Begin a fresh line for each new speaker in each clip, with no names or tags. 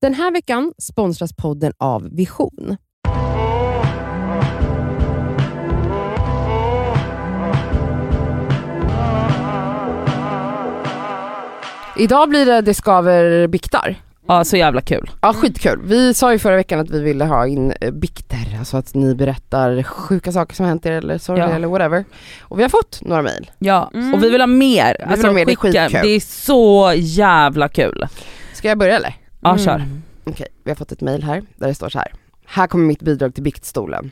Den här veckan sponsras podden av Vision. Idag blir det Det skaver biktar.
Ja, så jävla kul.
Ja, skitkul. Vi sa ju förra veckan att vi ville ha in eh, bikter, alltså att ni berättar sjuka saker som hänt er eller sorgliga
Ja.
eller whatever. Och vi har fått några mejl.
Ja, och Mm. vi vill ha mer.
vill ha mer, det är skitkul.
det är så jävla kul.
Ska jag börja eller?
Ja, kör.
Okej, vi har fått ett mejl här där det står så här. Här kommer mitt bidrag till biktstolen.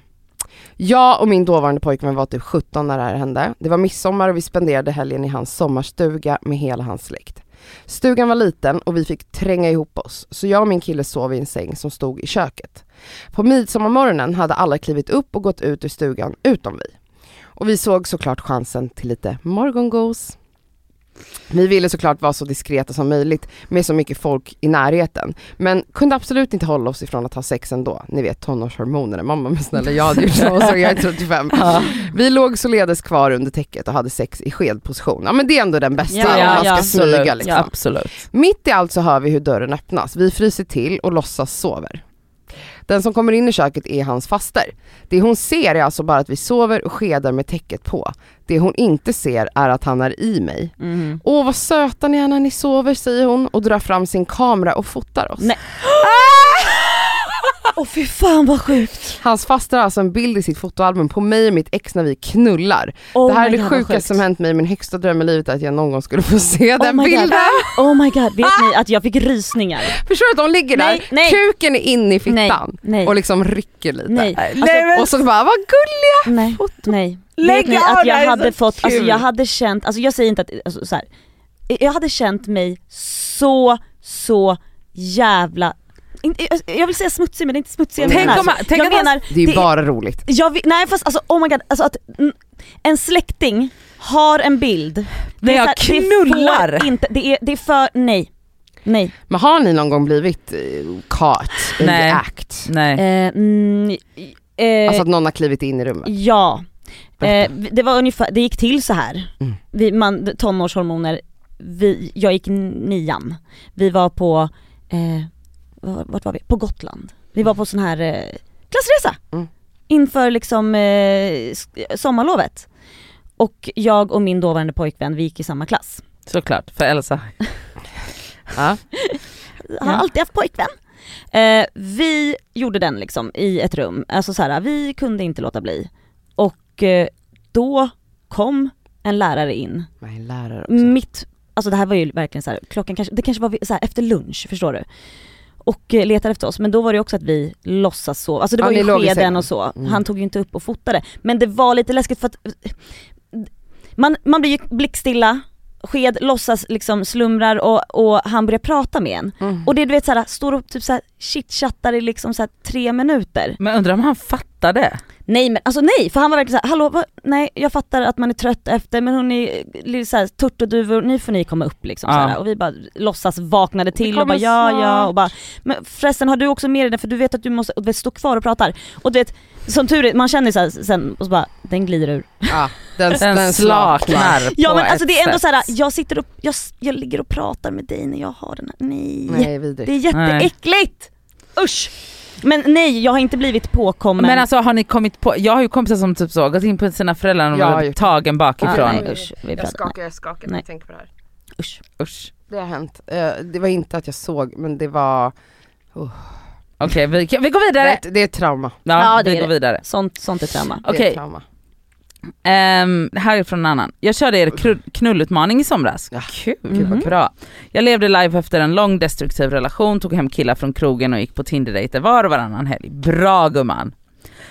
Jag och min dåvarande pojkvän var typ 17 när det här hände. Det var midsommar och vi spenderade helgen i hans sommarstuga med hela hans släkt. Stugan var liten och vi fick tränga ihop oss, så jag och min kille sov i en säng som stod i köket. På midsommarmorgonen hade alla klivit upp och gått ut ur stugan, utom vi. Och vi såg såklart chansen till lite morgongos. Vi ville såklart vara så diskreta som möjligt med så mycket folk i närheten. Men kunde absolut inte hålla oss ifrån att ha sex ändå. Ni vet tonårshormonerna. Mamma men snälla jag hade gjort samma sak, jag är 35. Vi låg således kvar under täcket och hade sex i skedposition. Ja men det är ändå den bästa, om Alltså, man ska smyga liksom.
Ja, absolut.
Mitt i allt så hör vi hur dörren öppnas. Vi fryser till och låtsas sover. Den som kommer in i köket är hans faster. Det hon ser är alltså bara att vi sover och skedar med täcket på. Det hon inte ser är att han är i mig. Åh vad söta ni är när ni sover säger hon och drar fram sin kamera och fotar oss.
Nej.
Åh fy fan vad sjukt.
Hans faster har alltså en bild i sitt fotoalbum på mig och mitt ex när vi knullar.
Oh
det här är
my
det
God, vad
sjukaste som
sjukt. Oh
hänt mig. Min högsta dröm i livet är att jag någon gång skulle få se den
my
bilden.
God. Oh my god, vet ni att jag fick rysningar?
Förstår du att de ligger
Nej,
där,
nej.
kuken är inne i fittan
Nej, nej.
och liksom rycker lite.
Nej. Alltså,
Och så bara, vad gulliga!
nej, nej.
Äh, Lägg
vet ni
av,
att
det här
jag
är
hade
så
fått, alltså
kul.
jag hade känt, alltså jag säger inte att, alltså, så här. jag hade känt mig så, så jävla inte- jag- jag vill säga smutsig men det är inte smutsig jag
Tänk
menar. alltså.
om man- tänk
jag
att man-
menar
Det är ju
det-
bara roligt.
jag vill, nej fast alltså oh my god, alltså att mm, en släkting har en bild.
När
är
jag
så här, Det,
knullar.
får inte, det, är, det är för, nej. Nej.
Men har ni någon gång blivit eh, caught in
Nej.
the act?
Nej.
Eh, mm, eh,
Alltså att någon har klivit in i rummet?
Ja. Eh,
Berätta.
det var ungefär, det gick till så här.
Mm.
Vi, man, tonårshormoner, vi, jag gick nian. Vi var på, eh, var- vart var vi? På Gotland. Vi var på sån här eh, klassresa.
Mm.
Inför liksom eh, sk- sommarlovet. Och jag och min dåvarande pojkvän, vi gick i samma klass.
Såklart, för Elsa.
Ja.
Jag har
Ja.
alltid haft pojkvän. Eh, vi gjorde den liksom i ett rum, alltså så här, vi kunde inte låta bli. Och eh, då kom en lärare in
Nej, lärare också.
mitt, alltså det här var ju verkligen så här, klockan kanske, det kanske var vid- så här, efter lunch, förstår du? Och eh, letade efter oss, men då var det också att vi låtsas sova, alltså det
Ja,
var
ni låg i
ju
sängen.
skeden och så,
Mm.
han tog ju inte upp och fotade. Men det var lite läskigt för att man, man blir ju blickstilla, sked, låtsas liksom slumrar och, och han börjar prata med en.
Mm.
Och det du vet såhär, står och typ såhär chitchattar i liksom såhär tre minuter.
Men undrar om han fattade?
Nej men alltså nej, för han var verkligen såhär, hallå vad, nej jag fattar att man är trött efter men hon är eh, såhär turturduvor, nu får ni komma upp liksom
Ja.
såhär. och vi bara låtsas vaknade till och
kommer
bara ja
snart.
ja och bara, men förresten har du också med dig den för du vet att du måste, och du vet, stå kvar och pratar. Och du vet, som tur är, man känner såhär sen och så bara, den glider ur.
Ja, den,
Den, slaknar på
Ja men alltså
ett
det är ändå
sätt.
såhär, jag sitter och, jag, s- jag ligger och pratar med dig när jag har den här, nej.
Nej, vidrigt.
Det är jätteäckligt! Usch! Men nej, jag har inte blivit påkommen.
Men alltså har ni kommit på, jag har ju kompisar som typ så gått in på sina föräldrar och
Jag har
varit
gjort det.
tagen
ah,
bakifrån.
nej, usch, vi
Jag
pratar-
skakar, jag skakar när
Nej.
jag tänker på det här.
Usch.
Usch.
Det har hänt. Eh, Det var inte att jag såg, men det var...
Okej vi, kan- vi går
Det är
vidare.
ett, det är ett trauma.
Ja,
Ja, det
vi
är
går
det.
vidare.
Sånt, sånt är trauma.
Det är
Okej,
ett trauma.
ehm, här är från en annan. Jag körde er kru- knullutmaning i somras.
Ja.
Kul.
Gud, vad
Mhm. Bra. Jag levde live efter en lång destruktiv relation, tog hem killar från krogen och gick på Tinder-dejter var och varannan helg. Bra gumman!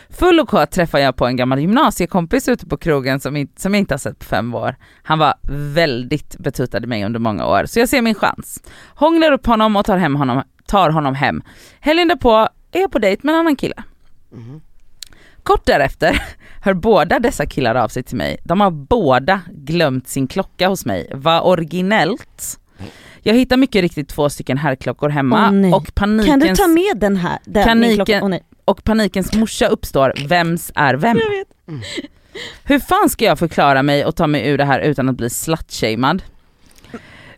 Full och kåt träffade jag på en gammal gymnasiekompis ute på krogen som, inte, som jag inte har sett på fem år. Han var väldigt betutad i mig under många år, så jag ser min chans. Hånglar upp honom och tar, hem honom, tar honom hem. Helgen därpå är jag på dejt med en annan kille.
Mhm.
Kort därefter hör båda dessa killar av sig till mig. De har båda glömt sin klocka hos mig. Vad originellt. Jag hittar mycket riktigt två stycken herrklockor hemma
Åh, nej.
och,
Kan du
panikens,
ta med den här? Den,
Kan
min
ni-
klocka- Åh, nej.
och panikens morsa uppstår. Vems är vem?
Mm.
Hur fan ska jag förklara mig och ta mig ur det här utan att bli slutshamead?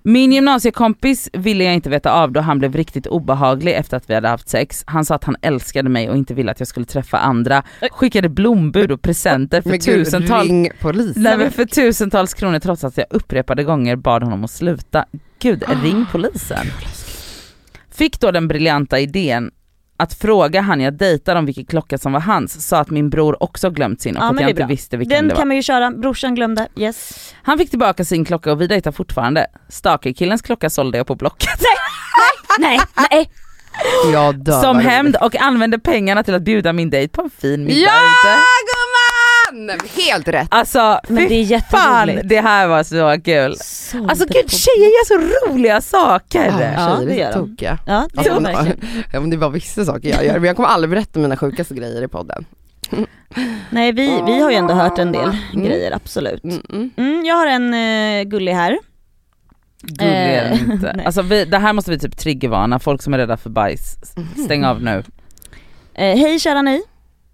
Min gymnasiekompis ville jag inte veta av då han blev riktigt obehaglig efter att vi hade haft sex. Han sa att han älskade mig och inte ville att jag skulle träffa andra. Skickade blombud och presenter för
Men gud,
tusentals
ring polisen.
Nej men för tusentals kronor trots att jag upprepade gånger bad honom att sluta. Gud,
Ah.
ring polisen. Fick då den briljanta idén att fråga han jag dejtade om vilken klocka som var hans, sa att min bror också glömt sin och
Ja,
att
men
jag
det är
inte
bra.
visste vilken
Den
det var.
kan man ju köra, brorsan glömde, yes.
Han fick tillbaka sin klocka och vi dejtar fortfarande. Stalkerkillens klocka sålde jag på Blocket
nej, nej.
Jag dör.
som
vad
hämnd och använde pengarna till att bjuda min dejt på en fin middag
Ja,
ute.
gumman! Helt rätt.
Alltså
Men det
fy
är
fan
jätteroligt.
det här var så kul.
Sålde
Alltså
på-
gud tjejer gör så roliga saker.
Ja,
Ja,
Ah, tjejer
det
är
gör
så
de.
tokiga.
Ja, det
Alltså,
gör
om,
de verkligen.
ja, men det var vissa saker jag gör, men jag kommer aldrig berätta mina sjukaste grejer i podden.
Nej vi, vi har ju ändå hört en del grejer, absolut.
Mm, mm.
Mm, jag har en eh, gullig här.
Gullig är
Eh,
den inte.
nej.
Alltså vi, det här måste vi typ triggervarna, folk som är rädda för bajs, s- stäng av nu. Mm.
Eh, Hej kära ni.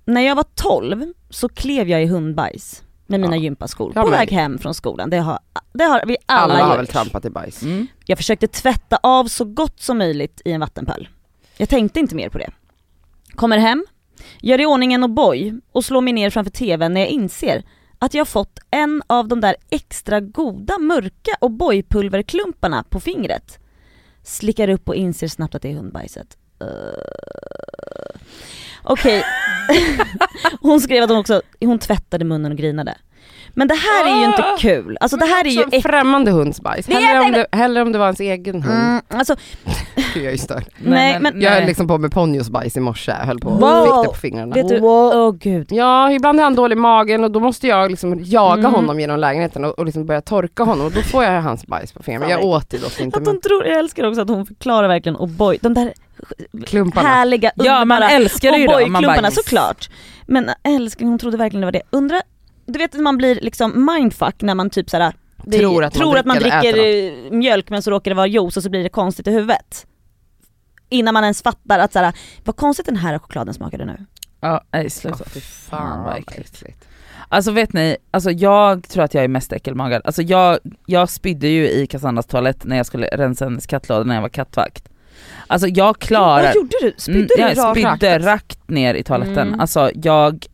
När jag var 12 så klev jag i hundbajs med mina
Ja.
gympaskor
Ja,
på
men-
väg hem från skolan. Det har, det har vi alla,
Alla, har väl
gjort.
trampat i bajs.
Mm.
Jag försökte tvätta av så gott som möjligt i en vattenpöl. Jag tänkte inte mer på det. Kommer hem, gör i ordning en O'boy och slår mig ner framför TVn när jag inser att jag har fått en av de där extra goda mörka O'boy-pulverklumparna på fingret. Slickar upp och inser snabbt att det är hundbajset. Uh... Okej. hon skrev att hon också hon tvättade munnen och grinade. Men det här är ju inte kul. Alltså det här är ju
Som
äckligt.
främmande hunds bajs.
Det är
Hellre om, det, hellre om det var hans egen hund.
Mm, alltså,
Gud, jag är störd.
Nej, men-
Jag höll liksom på med Ponjos bajs i morse, jag höll på och
Wow.
fick det på fingrarna.
Vet du, åh gud.
Ja, ibland är han dålig i magen och då måste jag liksom jaga
Mm.
honom genom lägenheten och, och liksom börja torka honom och då får jag hans bajs på fingrarna. Jag
Fan.
åt det dock inte
Att
men
hon tror, jag älskar också att hon förklarar verkligen O'boy, de där
klumparna.
härliga
Ja man
liksom- underbara
älskar det ju då. Man bara,
O'boy-klumparna
yes.
såklart. Men älskling hon trodde verkligen det var det. Undra, du vet att man blir liksom mindfuck när man typ såhär det-
Tror att man
tror att man
dricker eller
dricker eh, mjölk men så råkar det vara juice och så blir det konstigt i huvudet. Innan man ens fattar att såhär, vad konstigt den här chokladen smakade nu.
Ja, nej, sluta.
Åh, fy
Fan,
fan
vad
vad
äckligt.
äckligt.
Alltså vet ni, alltså jag tror att jag är mest äckelmagad. Alltså jag, jag spydde ju i Cassandras toalett när jag skulle rensa hennes kattlåda när jag var kattvakt. Alltså jag klarar...
Vad gjorde du? Spydde
Mm,
du
jag
rakt?
spydde rakt ner i toaletten.
Mm.
Alltså jag,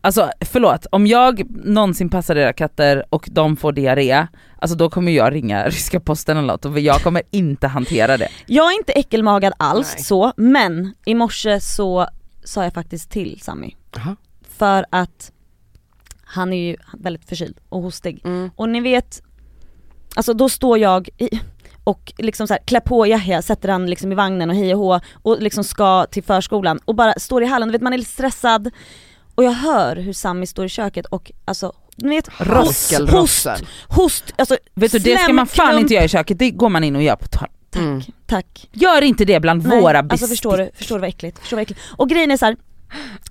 alltså förlåt, om jag någonsin passar era katter och de får diarré, alltså då kommer jag ringa ryska posten eller något och jag kommer inte hantera det.
Jag är inte äckelmagad alls
Nej.
så, men i morse så sa jag faktiskt till Sammy.
Jaha.
För att han är ju väldigt förkyld och hostig.
Mm.
Och ni vet, alltså då står jag i, och liksom så här, klär på Yahya, sätter han liksom i vagnen och hej och hå och liksom ska till förskolan och bara står i hallen, du vet man är lite stressad och jag hör hur Sammy står i köket och alltså ni vet host, host,
Roskelrossel.
host, alltså
Vet du det ska man fan
slemklump.
inte göra i köket, det går man in och gör på toaletten.
Tack,
Mm.
tack.
Gör inte det bland
Nej,
våra bestick.
alltså förstår du, förstår du vad äckligt, förstår du vad äckligt. Och grejen är så här.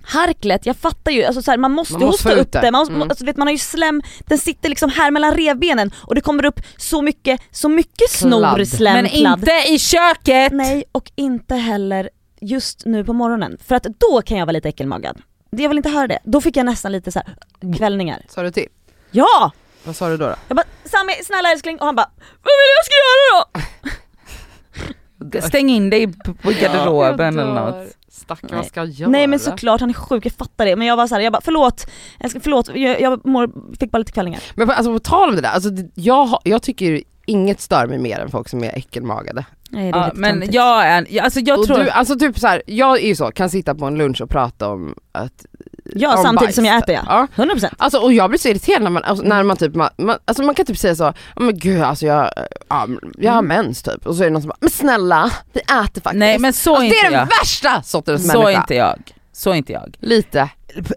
Harklet, jag fattar ju, alltså så här, man måste,
Man måste
hosta
få ut
upp det,
det.
Man, måste,
Mm.
alltså, vet, man har ju slem, den sitter liksom här mellan revbenen och det kommer upp så mycket, så mycket snor,
Kladd.
slem,
Men
kladd.
inte i köket!
Nej och inte heller just nu på morgonen, för att då kan jag vara lite äckelmagad. Det- Jag vill inte höra det, då fick jag nästan lite så här kvällningar.
Sa du till?
Ja!
Vad sa du då? då?
Jag bara Sami snälla älskling och han bara Vad vill du jag ska göra då?
Stäng in dig på- på garderoben
Jag
eller
dör.
något.
Stackarn,
Nej.
vad ska jag göra?
Nej men såklart han är sjuk, jag fattar det. Men jag var såhär, jag bara förlåt, älskling, förlåt, jag, jag mår, fick bara lite kvällningar.
Men på, alltså, på tal om det där, alltså, det- jag, har- jag tycker inget stör mig mer än folk som är äckelmagade.
Nej, det är
Ja,
lite
men
töntigt.
jag är, ja, alltså jag
och
tror...
du, alltså typ så här, jag är ju så, kan sitta på en lunch och prata om att...
ja
om
samtidigt
oh, bajs.
som jag äter ja.
Ja.
100%.
Alltså och jag blir så irriterad när man, alltså, när man typ, man, man, alltså, man kan typ säga så, "Ja, men gud alltså jag, ja, jag har mens typ. Och så är det någon som bara, men snälla vi äter faktiskt.
Nej men så är
alltså, det
inte
är den
jag.
värsta sortens
Så är
människa.
inte jag. Så är inte jag.
Lite.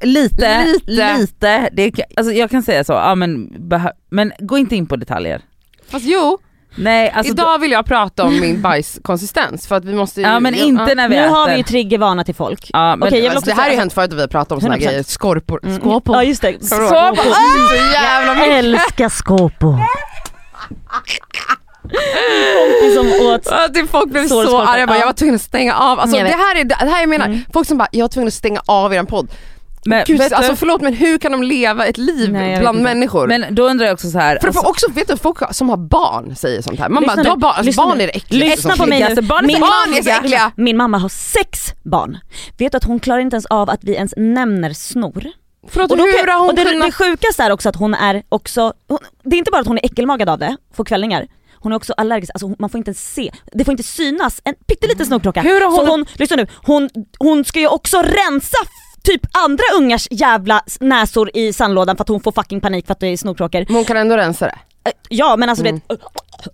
Lite, lite.
Lite.
Det, är- alltså jag kan säga så, ja, men, behö- men gå inte in på detaljer.
Fast jo,
Nej alltså,
idag vill jag prata om min bajskonsistens för att vi måste ju-
ja men inte när vi
Nu
äter.
har vi ju triggervana till folk.
ja, men,
Okej, jag vill
Alltså,
också
det här har ju
säga-
hänt förut att vi har pratat om såna här
100%.
grejer, skorpor,
Mm.
skåpor.
Ja just det.
Skåpor.
Skåpor.
Så jävla mycket.
Jag älskar skåpor. Kompis som åt
Ja, det folk blev
Sår och
så
skorpor.
arga, jag, bara,
Ja.
jag var tvungen att stänga av. Alltså,
Jag
det,
vet.
här är, det här jag menar, folk som bara jag var tvungen att stänga av eran podd.
Men,
Gud,
vet du-
alltså förlåt men hur kan de leva ett liv
Nej, jag vet
bland
inte.
människor?
men då undrar jag också så här.
för
alltså,
alltså, också, vet du, folk som har barn säger sånt här. Man
Lyssna
bara, du har
nu,
barn, alltså,
lyssna
barn
nu.
är det äckligaste
Lyssna
som
på mig
finns.
Alltså,
nu.
barn är
Min
så
Barn är så
mamma-
äckliga!
Min mamma har sex barn. Vet du att hon klarar inte ens av att vi ens nämner snor?
Förlåt,
Och, då,
hur har
och
hon
det,
kunnat...
det sjukaste är också att hon är också, hon, det är inte bara att hon är äckelmagad av det, får kvällningar. Hon är också allergisk, alltså hon, man får inte ens se, det får inte synas en
Mm.
pytteliten snorklocka.
Hur har hon-
Så hon, lyssna nu, hon, hon ska ju också rensa f- typ andra ungars jävla s- näsor i sandlådan för att hon får fucking panik för att det är snorkråkor.
Men hon kan ändå rensa det?
Eh, Ja men alltså det,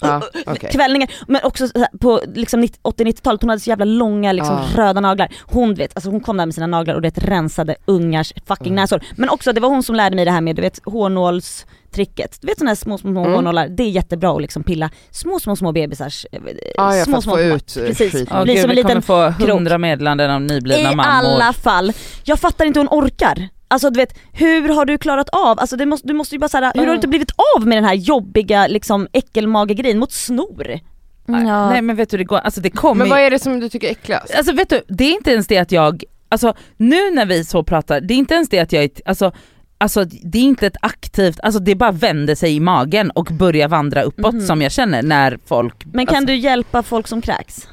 Ja, okej.
kvällningar, men också så här på liksom 90 80-90-talet, hon hade så jävla långa liksom,
Ja.
röda naglar. Hon du vet, alltså hon kom där med sina naglar och det rensade ungars fucking
Ah.
näsor. Men också det var hon som lärde mig det här med du vet hårnålstricket. Du vet sådana här små små, små
Mm.
hårnålar, det är jättebra att liksom pilla små små små bebisars, eh,
Ah, ja, för
små
att få ut eh,
precis.
skit.
åh
blir
gud,
som en
vi kommer
liten
få
krok.
hundra meddelanden om
I
nyblivna mammor.
alla fall, jag fattar inte hur hon orkar. Alltså du vet, hur har du klarat av, alltså, det måste, du måste ju bara säga
Ah.
hur har du inte blivit av med den här jobbiga liksom äckelmagegrejen mot snor? Ja.
Nej men vet du det går, alltså det kommer
Men vad är det som du tycker är äckligast?
Alltså vet du, det är inte ens det att jag, alltså nu när vi så pratar, det är inte ens det att jag, är- alltså, alltså det är inte ett aktivt, alltså det bara vänder sig i magen och börjar vandra uppåt
Mhm.
som jag känner när folk,
Men kan
Alltså-
du hjälpa folk som kräks?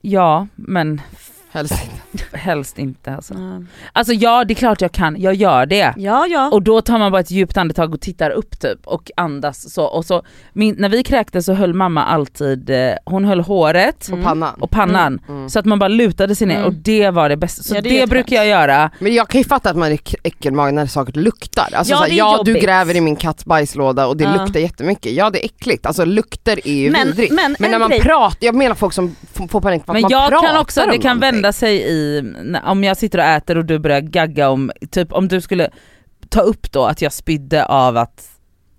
ja men
Helst inte.
helst inte alltså.
Mm.
Alltså ja det är klart jag kan, jag gör det.
Ja ja.
Och då tar man bara ett djupt andetag och tittar upp typ och andas så. Och så min, när vi kräktes så höll mamma alltid, eh, hon höll håret
På pannan.
och pannan
Mm.
så att man bara lutade sig ner
Mm.
och det var det bästa. Så
Ja, det
det,
är ju ett
brukar jag göra.
Men jag kan ju fatta att man är k- äckelmagad när saker luktar. Alltså
Ja,
såhär,
det är
ja du
jobbigt.
gräver i min katts bajslåda och det
Ja.
luktar jättemycket. Ja det är äckligt, alltså lukter är ju
Men-
vidrigt.
men en
när man
grej-
pratar, jag menar folk som f- får panik för att
Men
man
jag
pratar
kan också, det
om
kan
någonting.
vända sig i, när- om jag sitter och äter och du börjar gagga om, typ om du skulle ta upp då att jag spydde av att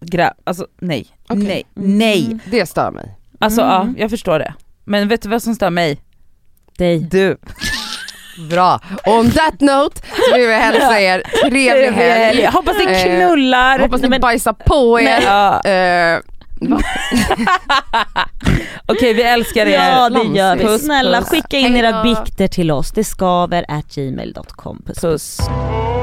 grä, alltså nej,
Okej. Mm.
nej, nej.
Det stör mig.
Alltså
Mm.
ja, jag förstår det. Men vet du vad som stör mig?
Dig.
Du.
Bra, on that note så vill jag hälsa er trevlig helg.
Jag hoppas ni
Eh,
knullar.
Hoppas ni
men-
bajsar på er.
Ja.
Eh,
Okej vi älskar er.
Ja det gör vi.
Puss,
Snälla
puss.
skicka in
Hej
era
då.
bikter till oss. Det skaver at gmail.com. Puss.
Puss.
Ooh,